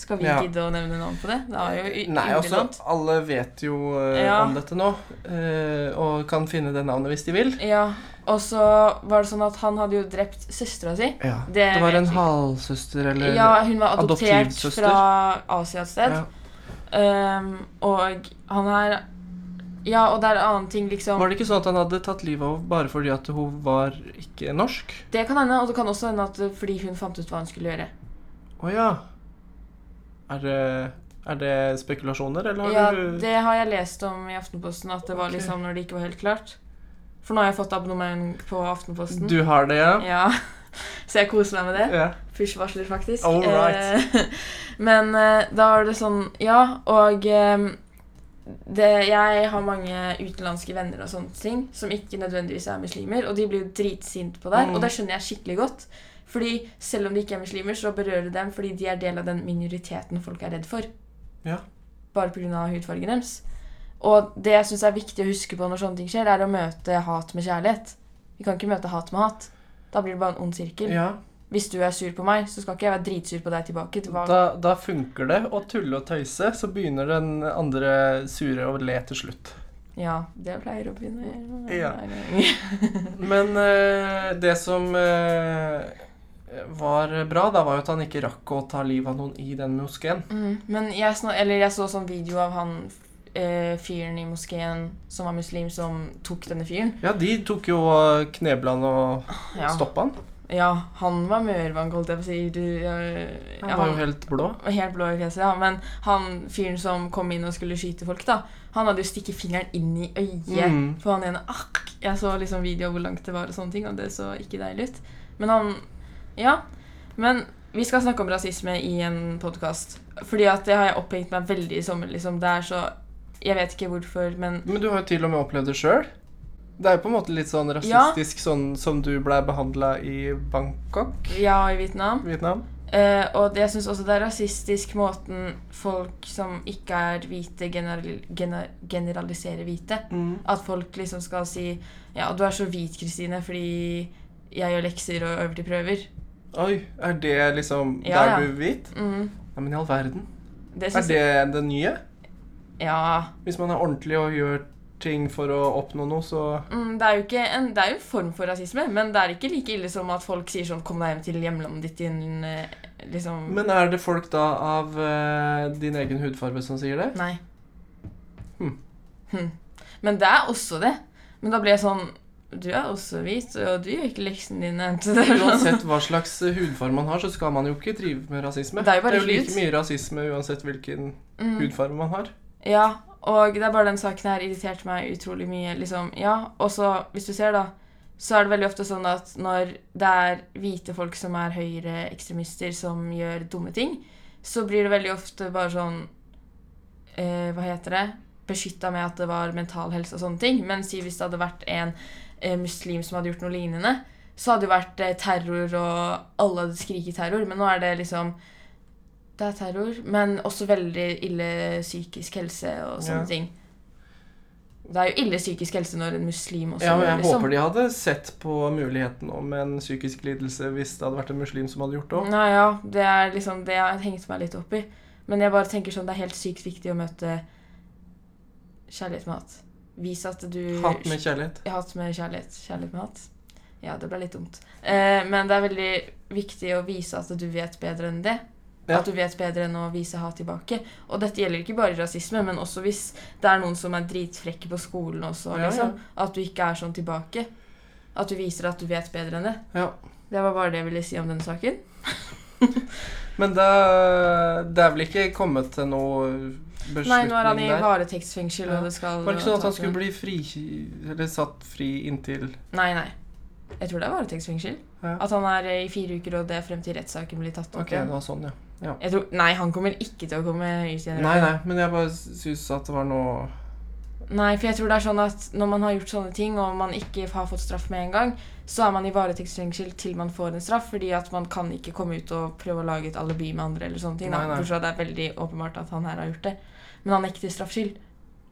S1: Skal vi
S2: Ja.
S1: gidde å nevne navn på det? Det er jo
S2: Nei, altså,
S1: irrelevant.
S2: alle vet jo eh,
S1: Ja.
S2: om dette nå, eh, og kan finne det navnet hvis de vil.
S1: Ja. Og så var det sånn at han hadde jo drept søstera si.
S2: Ja.
S1: Det
S2: Det, var
S1: vet
S2: en
S1: vi ikke.
S2: halvsøster eller
S1: Ja, hun var adoptert
S2: adoptivsøster.
S1: fra Asia et sted.
S2: Ja.
S1: Ehm, og han er Ja, og det er en annen ting, liksom.
S2: Var det ikke sånn at han hadde tatt livet av henne bare fordi at hun var ikke norsk?
S1: Det kan hende, og det kan også hende at eh, fordi hun fant ut hva hun skulle gjøre.
S2: Å ja. Er det, er det spekulasjoner, eller
S1: Ja,
S2: har du
S1: Det har jeg lest om i Aftenposten, at det var
S2: Ok.
S1: liksom når det ikke var helt klart. For nå har jeg fått abonnement på Aftenposten.
S2: Du har det, ja?
S1: Ja, Så jeg koser meg med det.
S2: ja.
S1: Push-varsler, faktisk.
S2: All right.
S1: Eh, men eh, da var det sånn Ja, og eh, det, jeg har mange utenlandske venner og sånne ting som ikke nødvendigvis er muslimer, og de blir jo dritsinte på det. her,
S2: Mm.
S1: Og det skjønner jeg skikkelig godt. Fordi selv om de ikke er muslimer, så berører det dem fordi de er del av den minoriteten folk er redd for.
S2: Ja.
S1: Bare pga. hudfargen deres. Og det jeg syns er viktig å huske på når sånne ting skjer, er å møte hat med kjærlighet. Vi kan ikke møte hat med hat. Da blir det bare en ond sirkel.
S2: ja.
S1: Hvis du er sur på meg, så skal ikke jeg være dritsur på deg tilbake. Det var,
S2: Da, da funker det å tulle og tøyse, så begynner den andre sure å le til slutt.
S1: ja, det pleier Robin å gjøre.
S2: Ja. Men eh, det som eh, var bra, da var jo at han ikke rakk å ta livet av noen i den moskeen.
S1: Mm. Men jeg, snak, eller jeg så sånn video av han eh, fyren i moskeen som var muslim, som tok denne fyren.
S2: Ja, de tok jo knebla han og
S1: Ja,
S2: stoppa han.
S1: ja han var mørbank, holdt jeg på å si. Du, eh,
S2: Han
S1: ja,
S2: var jo helt blå.
S1: var helt blå i fjeset, ja. Men han fyren som kom inn og skulle skyte folk, da, han hadde jo stikket fingeren inn i øyet
S2: Mm.
S1: på han ene. Akk! Jeg så liksom video av hvor langt det var, og sånne ting, og det så ikke deilig ut. Men han Ja. Men vi skal snakke om rasisme i en podkast. Fordi at det har jeg opphengt meg veldig i sommer. liksom. Det er så Jeg vet ikke hvorfor, men
S2: Men du har jo til og med opplevd det sjøl. Det er jo på en måte litt sånn
S1: Ja.
S2: rasistisk sånn som du blei behandla i Bangkok,
S1: ja, i Vietnam.
S2: Vietnam.
S1: Eh, og det, jeg syns også det er rasistisk måten folk som ikke er hvite, general, gener, generaliserer hvite. At folk liksom skal si Ja, du er så hvit, Kristine, fordi jeg gjør lekser og øver til prøver.
S2: Oi, er det liksom
S1: Ja, ja.
S2: der du er hvit?
S1: Mm.
S2: Ja, men i all verden.
S1: Det
S2: Er
S1: syns jeg
S2: det det nye?
S1: Ja.
S2: Hvis man er ordentlig og gjør ting for å oppnå noe, så
S1: Mm, det, er jo ikke en, det er jo en form for rasisme, men det er ikke like ille som at folk sier sånn Kom deg hjem til hjemlandet ditt, din eh, liksom
S2: Men er det folk da av eh, din egen hudfarge som sier det?
S1: Nei.
S2: Hm.
S1: Hm. Men det er også det. Men da ble jeg sånn Du er også hvit, og du gjør ikke leksene dine. Så det er sånn-
S2: Uansett hva slags eh, hudfarge man har, så skal man jo ikke drive med rasisme.
S1: Det er jo bare
S2: jo like
S1: hud.
S2: mye rasisme uansett hvilken
S1: Mm.
S2: hudfarge man har.
S1: Ja, og det er bare den saken her irriterte meg utrolig mye. liksom, ja, Og så, hvis du ser, da, så er det veldig ofte sånn at når det er hvite folk som er høyreekstremister, som gjør dumme ting, så blir det veldig ofte bare sånn eh, Hva heter det? Beskytta med at det var mental helse og sånne ting. Men si hvis det hadde vært en eh, muslim som hadde gjort noe lignende, så hadde det jo vært eh, terror, og alle hadde skriket terror. Men nå er det liksom det er terror, men også veldig ille psykisk helse og sånne
S2: Ja.
S1: ting. Det er jo ille psykisk helse når en muslim også
S2: Ja,
S1: gjør
S2: og
S1: det, liksom.
S2: Jeg håper de hadde sett på muligheten om en psykisk lidelse hvis det hadde vært en muslim som hadde gjort det òg.
S1: Nei, ja, det er liksom det jeg hengte meg litt opp i. Men jeg bare tenker sånn, det er helt sykt viktig å møte kjærlighet med hat. Vis at du
S2: Hat med kjærlighet.
S1: Ja, Hat med kjærlighet. Kjærlighet med hat. Ja, det ble litt dumt. Eh, men det er veldig viktig å vise at du vet bedre enn det.
S2: Ja.
S1: At du vet bedre enn å vise hat tilbake. Og dette gjelder ikke bare rasisme, men også hvis det er noen som er dritfrekke på skolen også.
S2: Ja, ja.
S1: Liksom, At du ikke er sånn tilbake. At du viser at du vet bedre enn det.
S2: Ja.
S1: Det var bare det jeg ville si om den saken.
S2: Men det, det er vel ikke kommet til noe beslutning
S1: Nei, nå er han i
S2: der?
S1: varetektsfengsel,
S2: Ja.
S1: og det skal
S2: Var det ikke sånn at han
S1: tas
S2: skulle
S1: en-
S2: bli fri, eller satt fri inntil
S1: Nei, nei. Jeg tror det er varetektsfengsel.
S2: Ja.
S1: At han er eh, i fire uker, og det er frem til rettssaken blir tatt opp.
S2: Ok,
S1: igjen.
S2: det var sånn, ja.
S1: Jeg tror, nei, han kommer ikke til å komme ut igjen.
S2: Nei, nei, men jeg bare syns at det var noe
S1: Nei, for jeg tror det er sånn at når man har gjort sånne ting, og man ikke har fått straff med en gang, så er man i varetektsfengsel til man får en straff, fordi at man kan ikke komme ut og prøve å lage et alibi med andre eller sånne ting. da.
S2: Nei, nei.
S1: Bortsett fra at det er veldig åpenbart at han her har gjort det. Men han nekter straffskyld.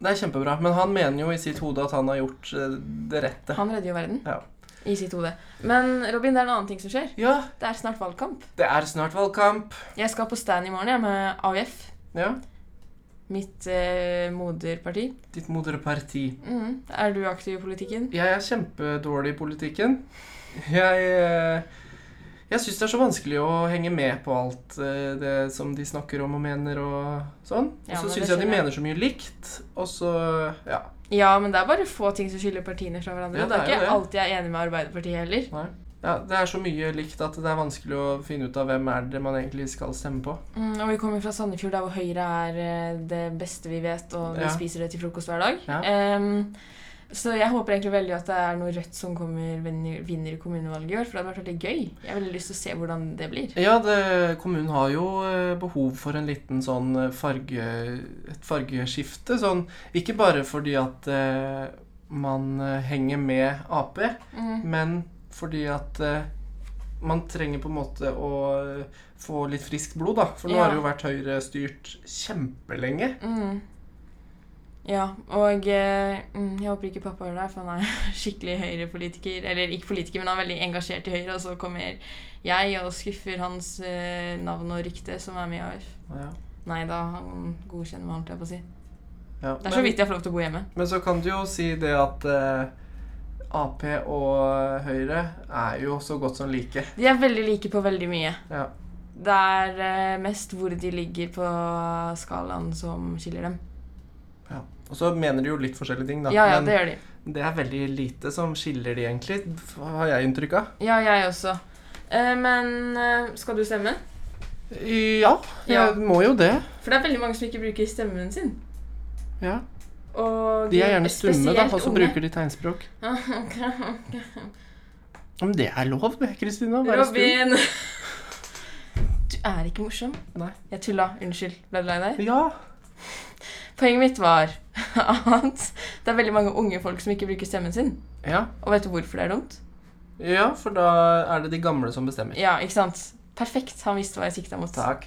S2: Det er kjempebra, men han mener jo i sitt hode at han har gjort eh, det rette.
S1: Han redder jo verden.
S2: Ja.
S1: I sitt hode. Men Robin, det er en annen ting som skjer.
S2: Ja,
S1: Det er snart valgkamp.
S2: det er snart valgkamp.
S1: Jeg skal på stand i morgen jeg, med AUF,
S2: Ja,
S1: mitt eh, moderparti.
S2: ditt moderparti.
S1: Mm. Er du aktiv i politikken?
S2: Jeg er kjempedårlig i politikken. Jeg eh, Jeg syns det er så vanskelig å henge med på alt eh, det som de snakker om og mener og sånn. Og
S1: Ja, men
S2: så
S1: det
S2: syns jeg de
S1: skjønner jeg.
S2: mener så mye likt, og så Ja.
S1: Ja, men det er bare få ting som skiller partiene fra hverandre.
S2: Ja,
S1: det, er
S2: det er jo
S1: ikke
S2: det.
S1: alltid jeg er enig med Arbeiderpartiet heller.
S2: Nei. Ja, det er så mye likt at det er vanskelig å finne ut av hvem er det man egentlig skal stemme på.
S1: Mm, og vi kommer fra Sandefjord, der hvor Høyre er eh, det beste vi vet, og vi
S2: Ja.
S1: spiser det til frokost hver dag.
S2: Ja.
S1: Em, så jeg håper egentlig veldig at det er noe rødt som kommer vinner, vinner kommunevalget i år, for det hadde vært veldig gøy. Jeg har veldig lyst til å se hvordan det blir.
S2: Ja, det, kommunen har jo eh, behov for en liten sånn eh, farge, et fargeskifte. Sånn, ikke bare fordi at eh, man eh, henger med Ap,
S1: Mm.
S2: men fordi at eh, man trenger på en måte å eh, få litt friskt blod, da. For nå
S1: Ja.
S2: har det jo vært høyrestyrt kjempelenge.
S1: Mm. Ja, og eh, mm, jeg håper ikke pappa hører deg, for han er skikkelig Høyre-politiker. Eller ikke politiker, men han er veldig engasjert i Høyre, og så kommer jeg og skuffer hans eh, navn og rykte, som er med i AUF.
S2: Ja.
S1: Nei da, han godkjenner meg, holdt jeg på å si.
S2: Ja.
S1: Det er så
S2: Men-
S1: vidt jeg får lov til å bo hjemme.
S2: Men så kan du jo si det at eh, Ap og Høyre er jo så godt som like.
S1: De er veldig like på veldig mye.
S2: Ja.
S1: Det er eh, mest hvor de ligger på skalaen som skiller dem.
S2: Ja. Og så mener de jo litt forskjellige ting, da.
S1: Ja, ja,
S2: men
S1: det gjør de.
S2: det er veldig lite som skiller de, egentlig, f- har jeg inntrykk av.
S1: Ja, jeg også. Eh, Men eh, skal du stemme?
S2: Ja, jeg
S1: Ja.
S2: må jo det.
S1: For det er veldig mange som ikke bruker stemmen sin.
S2: Ja.
S1: Og
S2: De er gjerne stumme, da,
S1: spesielt
S2: og så
S1: unge.
S2: bruker de tegnspråk.
S1: Ja, ok, ok.
S2: Men det er lov, det, Kristina. å Være stum.
S1: Robin! Du er ikke morsom.
S2: Nei.
S1: Jeg tulla. Unnskyld. Ble du lei deg?
S2: Ja.
S1: Poenget mitt var at det er veldig mange unge folk som ikke bruker stemmen sin.
S2: ja.
S1: Og vet du hvorfor det er dumt?
S2: Ja, for da er det de gamle som bestemmer.
S1: Ja, ikke sant? Perfekt. Han visste hva jeg sikta mot.
S2: Takk.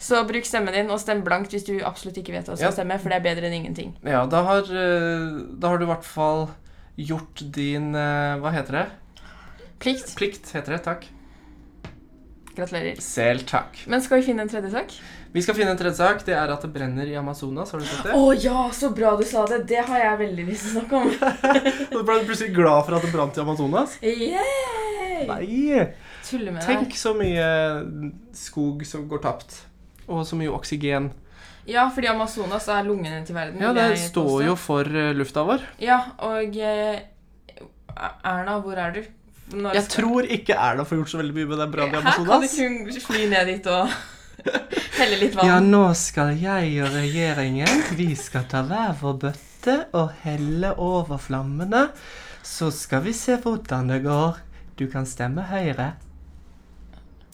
S1: Så bruk stemmen din, og stem blankt hvis du absolutt ikke vet hva som
S2: Ja.
S1: stemmer, for det er bedre enn ingenting.
S2: Ja, da har, eh, da har du i hvert fall gjort din eh, Hva heter det?
S1: Plikt.
S2: Plikt, heter det. Takk.
S1: Gratulerer.
S2: Selv takk.
S1: Men skal vi finne en tredje sak?
S2: Vi skal finne en tredje sak. Det er at det brenner i Amazonas. Har du sett
S1: Å
S2: det?
S1: ja, så bra du sa det! Det har jeg veldig lyst til å snakke om.
S2: Og ble du plutselig glad for at det brant i Amazonas?
S1: Yay!
S2: Nei!
S1: Tuller med deg.
S2: Tenk så mye skog som går tapt. Og så mye oksygen.
S1: Ja, fordi Amazonas er lungene til verden.
S2: Ja,
S1: vil
S2: det
S1: jeg
S2: står
S1: påstå.
S2: jo for eh, lufta vår.
S1: Ja, og eh, Erna, hvor er du? Når
S2: Jeg
S1: skal-
S2: tror ikke Erna får gjort så veldig mye med den brannen i
S1: Her kan
S2: Amazonas.
S1: ikke hun fly ned dit og helle litt
S2: Ja,
S1: vann?
S2: nå skal jeg og regjeringen, vi skal ta hver vår bøtte og helle over flammene. Så skal vi se hvordan det går. Du kan stemme Høyre.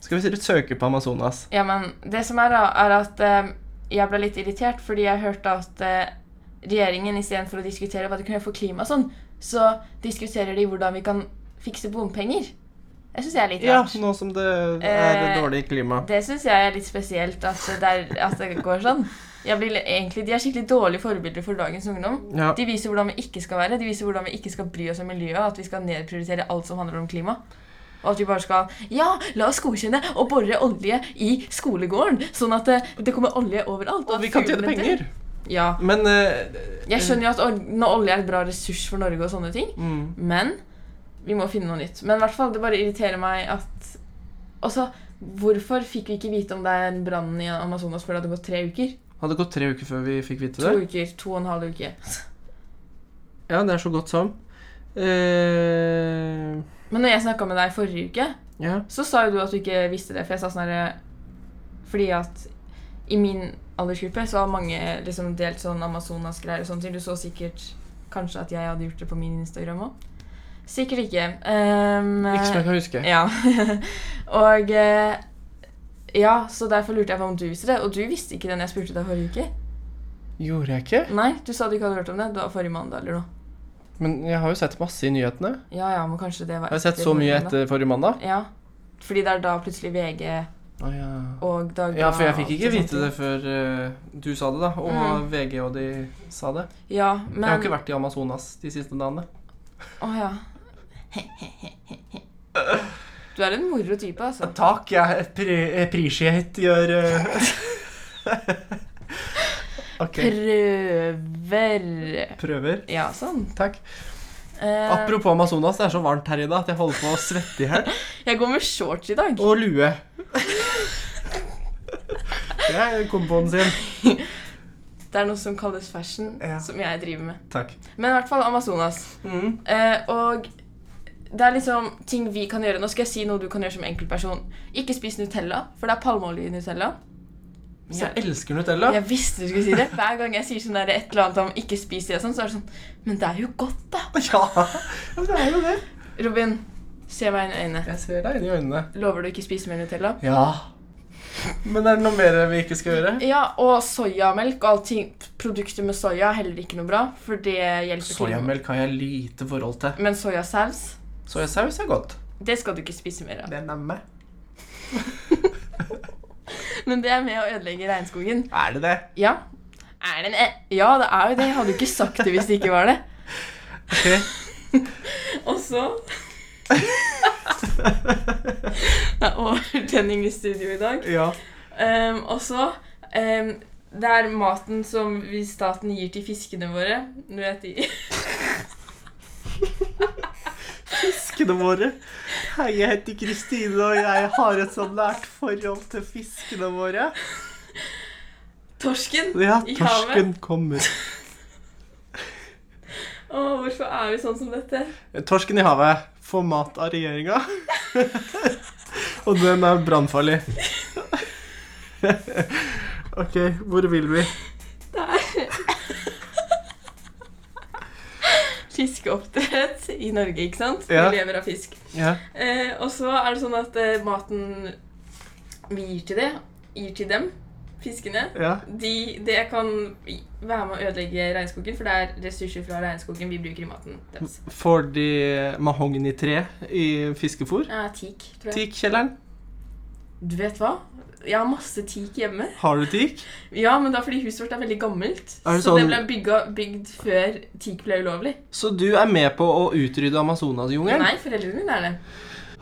S2: Skal vi si du søker på Amazonas?
S1: Ja, men det som er, da, er at eh, jeg ble litt irritert fordi jeg hørte at eh, regjeringen istedenfor å diskutere hva de kan gjøre for klima og sånn, så diskuterer de hvordan vi kan fikse bompenger. Jeg syns jeg er litt
S2: Ja,
S1: rart.
S2: nå som det er
S1: Eh,
S2: dårlig klima.
S1: Det syns jeg er litt spesielt at det, er, at det går sånn. Jeg blir li- egentlig, de er skikkelig dårlige forbilder for dagens ungdom.
S2: Ja.
S1: De viser hvordan vi ikke skal være, de viser hvordan vi ikke skal bry oss om miljøet, at vi skal nedprioritere alt som handler om klima. Og at vi bare skal Ja, la oss godkjenne å bore olje i skolegården, sånn at det, det kommer olje overalt.
S2: Og
S1: at
S2: vi kan tjene
S1: fuglene
S2: penger.
S1: dør. Ja.
S2: Men eh,
S1: Jeg skjønner jo at ol- når olje er et bra ressurs for Norge og sånne ting,
S2: mm,
S1: men vi må finne noe nytt. Men i hvert fall, det bare irriterer meg at Altså, hvorfor fikk vi ikke vite om den brannen i Amazonas før det hadde gått tre uker?
S2: Hadde gått tre uker før vi fikk vite
S1: To
S2: det.
S1: uker. To og en halv uke.
S2: Ja, det er så godt som. Eh,
S1: Men når jeg snakka med deg forrige uke,
S2: ja.
S1: så sa jo du at du ikke visste det, for jeg sa sånn herre Fordi at i min aldersgruppe så har mange liksom delt sånn Amazonas-greier og sånne ting. Du så sikkert kanskje at jeg hadde gjort det på min Instagram òg. Sikkert ikke. Um,
S2: Ikke som jeg kan huske.
S1: Ja. og eh, Ja, så derfor lurte jeg på om du visste det. Og du visste ikke det når jeg spurte deg forrige uke.
S2: Gjorde jeg ikke?
S1: Nei, du sa du ikke hadde hørt om det. Det var forrige mandag eller noe.
S2: Men jeg har jo sett masse i nyhetene.
S1: Ja, ja, men kanskje det var
S2: Jeg har sett
S1: etter
S2: så mye
S1: forrige mandag.
S2: etter forrige mandag.
S1: Ja. Fordi det er da plutselig VG
S2: Å, ja.
S1: og Dagbladet
S2: ja, for jeg fikk
S1: og
S2: ikke
S1: alt sånt.
S2: vite det før eh, du sa det, da. Og VG og de sa det.
S1: Ja, men
S2: Jeg har ikke vært i Amazonas de siste dagene.
S1: Å ja. Du er en moro type, altså.
S2: Takk, jeg appreciate eh, gjør eh. OK.
S1: Prøver
S2: Prøver.
S1: Ja, sånn.
S2: Takk.
S1: Eh,
S2: Apropos Amazonas, det er så varmt her i dag at jeg holder på å svette i hjel.
S1: jeg går med shorts i dag.
S2: Og lue. Det er komboen sin.
S1: Det er noe som kalles fashion,
S2: Ja.
S1: som jeg driver med.
S2: Takk.
S1: Men i hvert fall Amazonas.
S2: Mm.
S1: Eh, og det er liksom ting vi kan gjøre. Nå skal jeg si noe du kan gjøre som enkeltperson. Ikke spis Nutella, for det er palmeolje i Nutella.
S2: Jeg elsker Nutella.
S1: Jeg visste du skulle si det. Hver gang jeg sier sånn der et eller annet om ikke spis det, og sånn, så er det sånn Men det er jo godt, da.
S2: Ja, men det er jo det.
S1: Robin, se meg inn i øynene.
S2: Jeg ser deg inn i øynene.
S1: Lover du ikke å spise mer Nutella?
S2: Ja. Men er det noe mer vi ikke skal gjøre?
S1: Ja, og soyamelk og allting. Produkter med soya er heller ikke noe bra, for det hjelper til.
S2: Soyamelk har jeg lite forhold til.
S1: Men soyasaus,
S2: Soyasaus er godt.
S1: det skal du ikke spise mer av.
S2: Det er nemme.
S1: Men det er med å ødelegge regnskogen.
S2: Er det det?
S1: Ja. Er det en e? Ja, det er jo det. Jeg hadde jo ikke sagt det hvis det ikke var det.
S2: Ok.
S1: Og så Det er overtenning i studio i dag.
S2: Ja.
S1: Um, og så um, Det er maten som vi staten gir til fiskene våre. Du vet de
S2: fiskene våre. Hei, jeg heter Kristine, og jeg har et så nært forhold til fiskene våre.
S1: Torsken
S2: Ja,
S1: i havet.
S2: torsken kommer.
S1: Å, hvorfor er vi sånn som dette?
S2: Torsken i havet får mat av regjeringa. og den er brannfarlig. OK, hvor vil vi?
S1: Der. Fiskeoppdrett i Norge, ikke sant?
S2: Ja.
S1: Vi lever av fisk.
S2: Ja.
S1: Eh, og så er det sånn at eh, maten vi gir til det, gir til dem, fiskene,
S2: ja.
S1: de, det kan i- være med å ødelegge regnskogen, for det er ressurser fra regnskogen vi bruker i maten deres.
S2: Får de mahognitre i fiskefôr?
S1: Ja, teak, tror jeg.
S2: Teakkjelleren.
S1: Du vet hva? Jeg har masse teak hjemme.
S2: Har du teak?
S1: Ja, men det er fordi huset vårt er veldig gammelt.
S2: Er det
S1: så det
S2: sånn-
S1: ble bygga, bygd før teak ble ulovlig.
S2: Så du er med på å utrydde Amazonasjungelen?
S1: Nei, foreldrene mine er det.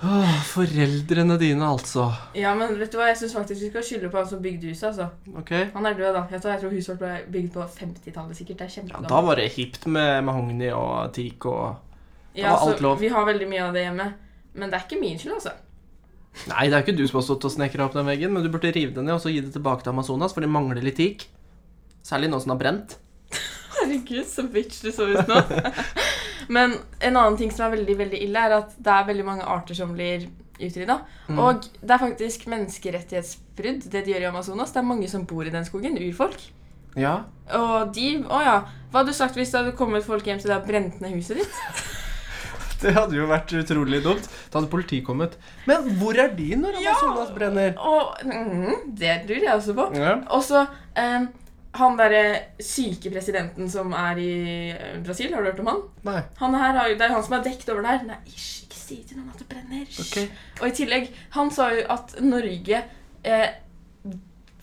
S2: Åh, foreldrene dine, altså.
S1: Ja, men vet du hva? Jeg syns faktisk vi skal skylde på han som bygde huset. altså.
S2: Ok.
S1: Han er død, da. Jeg tror, jeg tror huset vårt ble bygd på 50-tallet sikkert. Det er
S2: Ja, da
S1: kjempegammelt.
S2: var det hipt med mahogni og teak og
S1: Ja,
S2: var
S1: så
S2: alt lov.
S1: Vi har veldig mye av det hjemme. Men det er ikke min skyld, altså.
S2: Nei, det er jo ikke du som har stått og snekra opp den veggen, men du burde rive den ned og så gi det tilbake til Amazonas, for de mangler litt teak. Særlig nå som den har brent.
S1: Herregud, så bitch du så ut nå. Men en annen ting som er veldig veldig ille, er at det er veldig mange arter som blir utrydda.
S2: Mm.
S1: Og det er faktisk menneskerettighetsbrudd, det de gjør i Amazonas. Det er mange som bor i den skogen. Urfolk.
S2: Ja.
S1: Og de Å ja. Hva hadde du sagt hvis det hadde kommet folk hjem til det og brent ned huset ditt?
S2: Det hadde jo vært utrolig dumt. Da hadde politiet kommet. Men hvor er de når
S1: Ja!
S2: Amazonas brenner?
S1: Og mm, Det lurer jeg også på.
S2: Ja.
S1: Og så eh, han derre syke presidenten som er i eh, Brasil, har du hørt om han?
S2: Nei.
S1: Han her har jo, Det er jo han som er dekt over der. Nei, ish, ikke si til noen at det brenner. ish.
S2: Ok.
S1: Og i tillegg, han sa jo at Norge eh,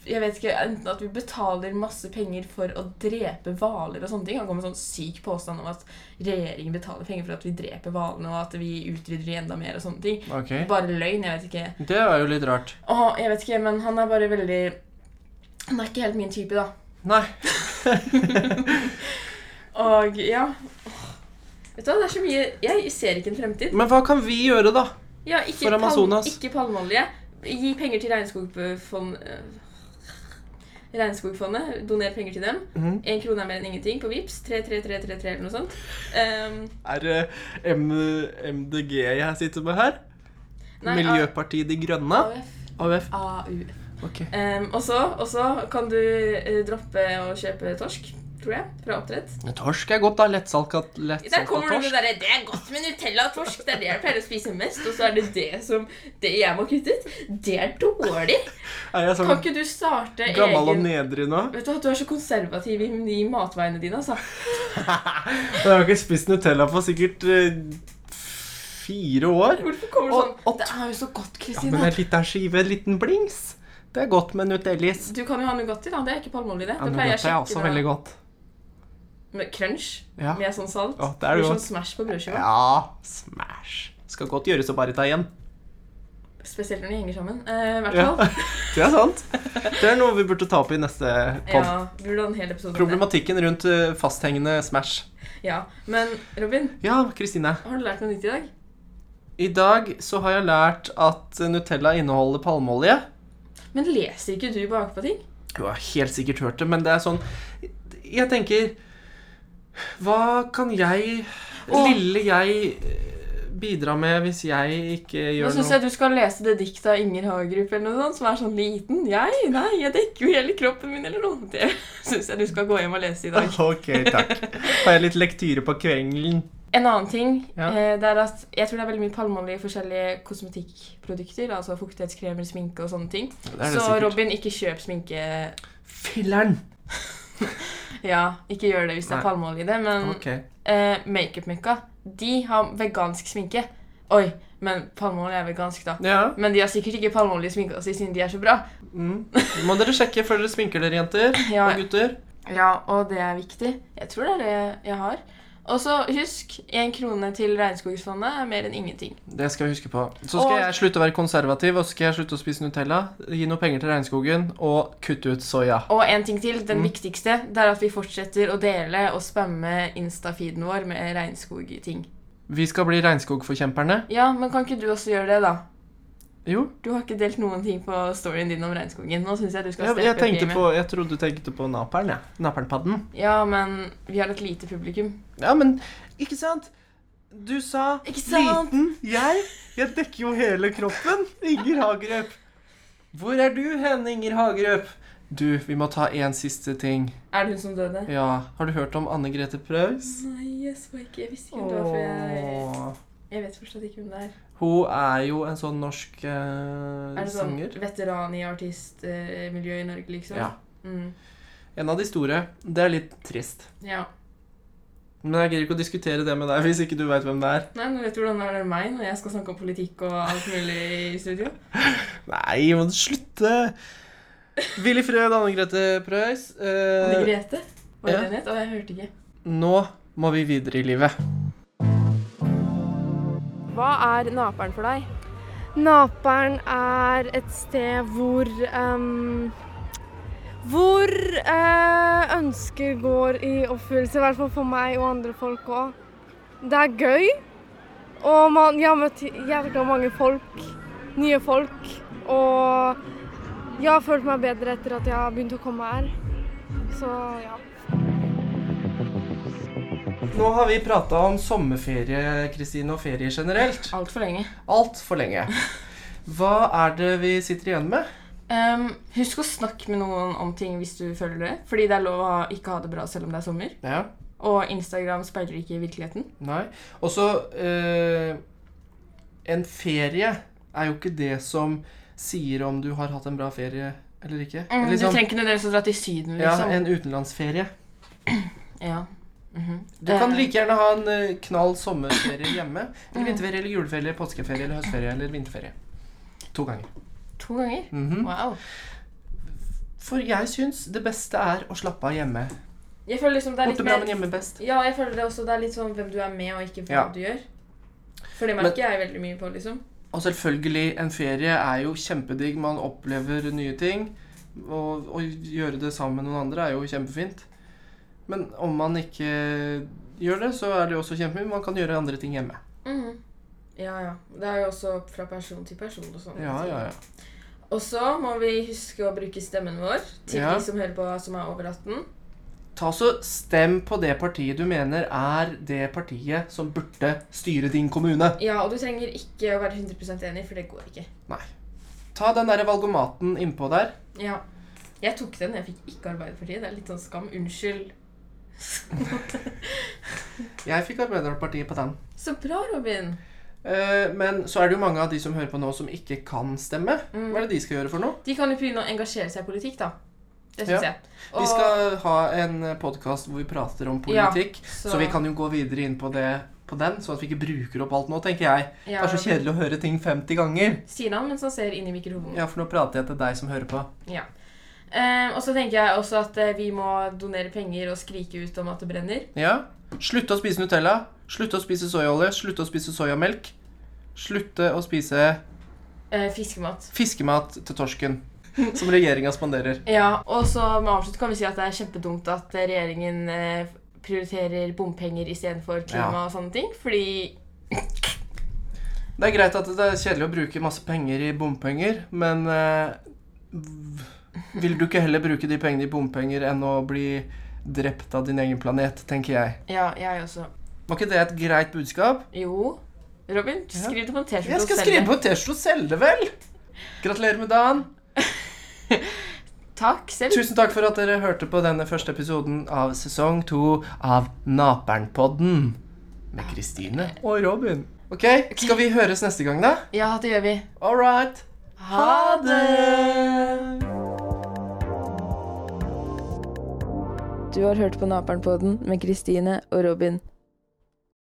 S1: Jeg vet ikke, enten at vi betaler masse penger for å drepe hvaler og sånne ting. Han kom med sånn syk påstand om at regjeringen betaler penger for at vi dreper hvalene, og at vi utrydder de enda mer og sånne ting.
S2: Ok.
S1: Bare løgn. Jeg vet ikke.
S2: Det var jo litt rart.
S1: Å, jeg vet ikke, men han er bare veldig Han er ikke helt min type, da.
S2: Nei.
S1: Og ja Åh. Vet du hva, det er så mye Jeg ser ikke en fremtid.
S2: Men hva kan vi gjøre, da?
S1: Ja, ikke,
S2: For Amazonas.
S1: Palm, ikke palmeolje. Gi penger til regnskogfond... øh, Regnskogfondet. Doner penger til dem.
S2: Mhm.
S1: Én krone er mer enn ingenting på Vipps. 33333 eller noe sånt. Ehm,
S2: Er det M MDG jeg sitter med her?
S1: nei,
S2: Miljøpartiet De Grønne?
S1: AUF.
S2: AUF.
S1: AUF.
S2: Ok.
S1: Ehm, og så- og så kan du eh, droppe å kjøpe torsk, tror jeg, fra oppdrett.
S2: Men Torsk er godt, da. Lettsalka
S1: Der kommer det med
S2: torsk.
S1: derre 'Det er godt med Nutella og torsk'. Det er det jeg pleier å spise mest, og så er det det som det jeg må kutte ut. Det er dårlig.
S2: Er jeg
S1: Kan
S2: sånn
S1: ikke du starte
S2: gammel og
S1: egen
S2: nedrig nå?
S1: Vet du at du er så konservativ i de matveiene dine, altså.
S2: Jeg har ikke spist Nutella på sikkert eh, fire år.
S1: Hvorfor kommer du
S2: Og-
S1: sånn?
S2: og-
S1: det er jo så godt,
S2: Ja, men
S1: Kristina.
S2: en liten skive, en liten blings. Det er godt med Nutellis.
S1: du kan jo ha Nugatti, da. Det er ikke palmeolje, det.
S2: Ja,
S1: det pleier jeg
S2: Nugatti er
S1: å
S2: også
S1: sjekke med,
S2: veldig godt.
S1: med crunch.
S2: Ja.
S1: Med sånn salt.
S2: Ja, det er det
S1: blir
S2: godt.
S1: sånn smash på brødskiva.
S2: Ja, smash. Skal godt gjøres å bare ta igjen.
S1: Spesielt når de henger sammen. Eh, I hvert
S2: Ja.
S1: fall.
S2: Det er sant. Det er noe vi burde ta opp i neste
S1: Ja,
S2: pod.
S1: vi burde ha en hel episode om det.
S2: Problematikken rundt eh, fasthengende Smash.
S1: Ja. Men Robin,
S2: Ja, Kristine.
S1: har du lært noe nytt i dag?
S2: I dag så har jeg lært at Nutella inneholder palmeolje.
S1: Men leser ikke du bakpå ting?
S2: Du har helt sikkert hørt det, men det er sånn Jeg tenker Hva kan jeg,
S1: Åh.
S2: lille jeg, eh, bidra med hvis jeg ikke
S1: Nå
S2: gjør
S1: syns
S2: noe?
S1: jeg du skal lese det diktet av Inger Hagerup eller noe sånt, som er sånn liten. Jeg? Nei, jeg dekker jo hele kroppen min eller noe. Det syns jeg du skal gå hjem og lese i dag.
S2: Ok, takk. Har jeg litt lektyre på kvelden?
S1: En annen ting
S2: Ja.
S1: eh, det er at jeg tror det er veldig mye palmeolje i forskjellige kosmetikkprodukter. Altså fuktighetskremer, sminke og sånne ting.
S2: Det er det
S1: Så
S2: sikkert.
S1: Robin, ikke kjøp sminke.
S2: Filler'n!
S1: Ja, ikke gjør det hvis det
S2: Nei.
S1: er palmeolje i det. Men
S2: Ok.
S1: eh, makeupmøkka, de har vegansk sminke. Oi, men palmeolje er vegansk, da.
S2: Ja.
S1: Men de har sikkert ikke palmeolje i sminka si siden de er så bra.
S2: Mm. Må dere sjekke før dere sminker dere, jenter
S1: Ja.
S2: og gutter.
S1: Ja, og det er viktig. Jeg tror det er det jeg har. Og så husk, én krone til Regnskogsfondet er mer enn ingenting.
S2: Det skal jeg huske på. Så skal
S1: Og-
S2: jeg slutte å være konservativ, og så skal jeg slutte å spise Nutella. Gi noe penger til regnskogen, og kutte ut soya.
S1: Og en ting til,
S2: Mm.
S1: den viktigste, det er at vi fortsetter å dele og spamme Insta-feeden vår med regnskogting.
S2: Vi skal bli regnskogforkjemperne.
S1: Ja, men kan ikke du også gjøre det, da?
S2: Jo,
S1: Du har ikke delt noen ting på storyen din om regnskogen. Nå syns jeg du skal
S2: jeg,
S1: steppe
S2: jeg tenkte
S1: gamet.
S2: på Jeg trodde du tenkte på naperen, jeg. Ja. Napernpadden.
S1: Ja, men vi har et lite publikum.
S2: Ja, men Ikke sant? Du sa
S1: Ikke sant?
S2: liten. Jeg? Jeg dekker jo hele kroppen. Inger Hagerup. Hvor er du hen, Inger Hagerup? Du, vi må ta én siste ting.
S1: Er det hun som døde?
S2: Ja, har du hørt om Anne Grete Preus?
S1: Nei, jeg så ikke. Jeg visste
S2: Åh.
S1: Jeg vet fortsatt ikke hvem det er.
S2: Hun er jo en sånn norsk eh,
S1: Er det sånn
S2: sanger.
S1: veteran i artistmiljøet i Norge, liksom?
S2: Ja.
S1: Mm.
S2: En av de store. Det er litt trist.
S1: ja.
S2: Men jeg gidder ikke å diskutere det med deg hvis ikke du veit hvem det er.
S1: Nei, nå vet du hvordan det er med meg når jeg skal snakke om politikk og alt mulig i studio.
S2: Nei, må du slutte! Willy Frød, Anne Grete Preus. eh,
S1: Anne Grete? Var det
S2: ja.
S1: den het? Å, jeg hørte ikke.
S2: Nå må vi videre i livet.
S1: Hva er naperen for deg?
S3: Naperen er et sted hvor ehm, Hvor eh, ønsket går i oppfyllelse, i hvert fall for meg og andre folk òg. Det er gøy, og man, jeg har møtt jævla mange folk. Nye folk. Og jeg har følt meg bedre etter at jeg har begynt å komme her. Så ja.
S2: Nå har vi prata om sommerferie Kristine, og ferie generelt.
S1: Altfor lenge.
S2: Altfor lenge. Hva er det vi sitter igjen med?
S1: Ehm, husk å snakke med noen om ting hvis du føler det. Fordi det er lov å ha- ikke ha det bra selv om det er sommer.
S2: Ja,
S1: Og Instagram speiler ikke virkeligheten.
S2: nei. Og så eh, En ferie er jo ikke det som sier om du har hatt en bra ferie eller ikke.
S1: Mm,
S2: Liksom,
S1: Du trenger ikke nødvendigvis å dra til Syden,
S2: ja,
S1: liksom. Ja,
S2: en utenlandsferie.
S1: Mhm.
S2: Du kan
S1: Eh, Mm.
S2: like gjerne ha en eh, knall sommerferie hjemme. Eller vinterferie, eller juleferie, eller påskeferie, eller høstferie, eller vinterferie. To ganger.
S1: To ganger?
S2: Mhm.
S1: Wow.
S2: For jeg syns det beste er å slappe av hjemme.
S1: Jeg føler liksom det er litt
S2: Borte bra, men
S1: mer
S2: hjemme best.
S1: Ja, jeg føler det også det er litt sånn hvem du er med, og ikke hva
S2: Ja.
S1: du gjør. For det
S2: Men-
S1: merker jeg veldig mye på, liksom.
S2: Og selvfølgelig, en ferie er jo kjempedigg. Man opplever nye ting. Og å gjøre det sammen med noen andre er jo kjempefint. Men om man ikke gjør det, så er det jo også kjempefint. Man kan gjøre andre ting hjemme.
S1: Mhm. Ja, ja. Det er jo også fra person til person og sånn.
S2: Ja, ja, ja.
S1: Og så må vi huske å bruke stemmen vår til
S2: Ja.
S1: de som hører på som er over 18.
S2: Ta så Stem på det partiet du mener er det partiet som burde styre din kommune.
S1: Ja, og du trenger ikke å være 100 enig, for det går ikke.
S2: Nei. Ta den derre valgomaten innpå der.
S1: Ja. Jeg tok den, jeg fikk ikke Arbeiderpartiet. Det er litt sånn skam. Unnskyld.
S2: Jeg fikk Arbeiderpartiet på den.
S1: Så bra, Robin.
S2: Eh, Men så er det jo mange av de som hører på nå, som ikke kan stemme.
S1: Mm.
S2: Hva er det de skal gjøre for noe?
S1: De kan jo begynne å engasjere seg i politikk, da. Det syns
S2: Ja.
S1: jeg.
S2: Vi skal ha en podkast hvor vi prater om politikk, så. vi kan jo gå videre inn på det på den, sånn at vi ikke bruker opp alt nå, tenker jeg. Det
S1: ja,
S2: er så kjedelig å høre ting 50 ganger.
S1: Sier han mens han ser inn i mikrofonen.
S2: Ja, for nå prater jeg til deg som hører på.
S1: Ja. Eh, og så tenker jeg også at eh, vi må donere penger og skrike ut om at det brenner.
S2: Ja. Slutte å spise Nutella. Slutte å spise soyaolje. Slutte å spise soyamelk. Slutte å spise
S1: Eh, fiskemat.
S2: fiskemat til torsken, som regjeringa spanderer.
S1: Ja, og så med avslutt kan vi si at det er kjempedumt at eh, regjeringen eh, prioriterer bompenger istedenfor klima
S2: Ja.
S1: og sånne ting. Fordi
S2: Det er greit at det er kjedelig å bruke masse penger i bompenger, men eh, v- vil du ikke heller bruke de pengene i bompenger enn å bli drept av din egen planet, tenker jeg.
S1: Ja, jeg også.
S2: Var ikke det et greit budskap?
S1: Jo. Robin,
S2: Ja.
S1: skriv det på en T-skjorte og
S2: Jeg skal
S1: selg
S2: skrive
S1: det.
S2: på T-skjorte og selge det, vel! Gratulerer med dagen.
S1: Takk selv.
S2: Tusen takk for at dere hørte på denne første episoden av sesong to av Napernpodden med Kristine og Robin. Ok, skal vi høres neste gang, da?
S1: Ja, det gjør vi.
S2: All right. Ha det!
S1: Du har hørt på Naperen-podden med Kristine og Robin.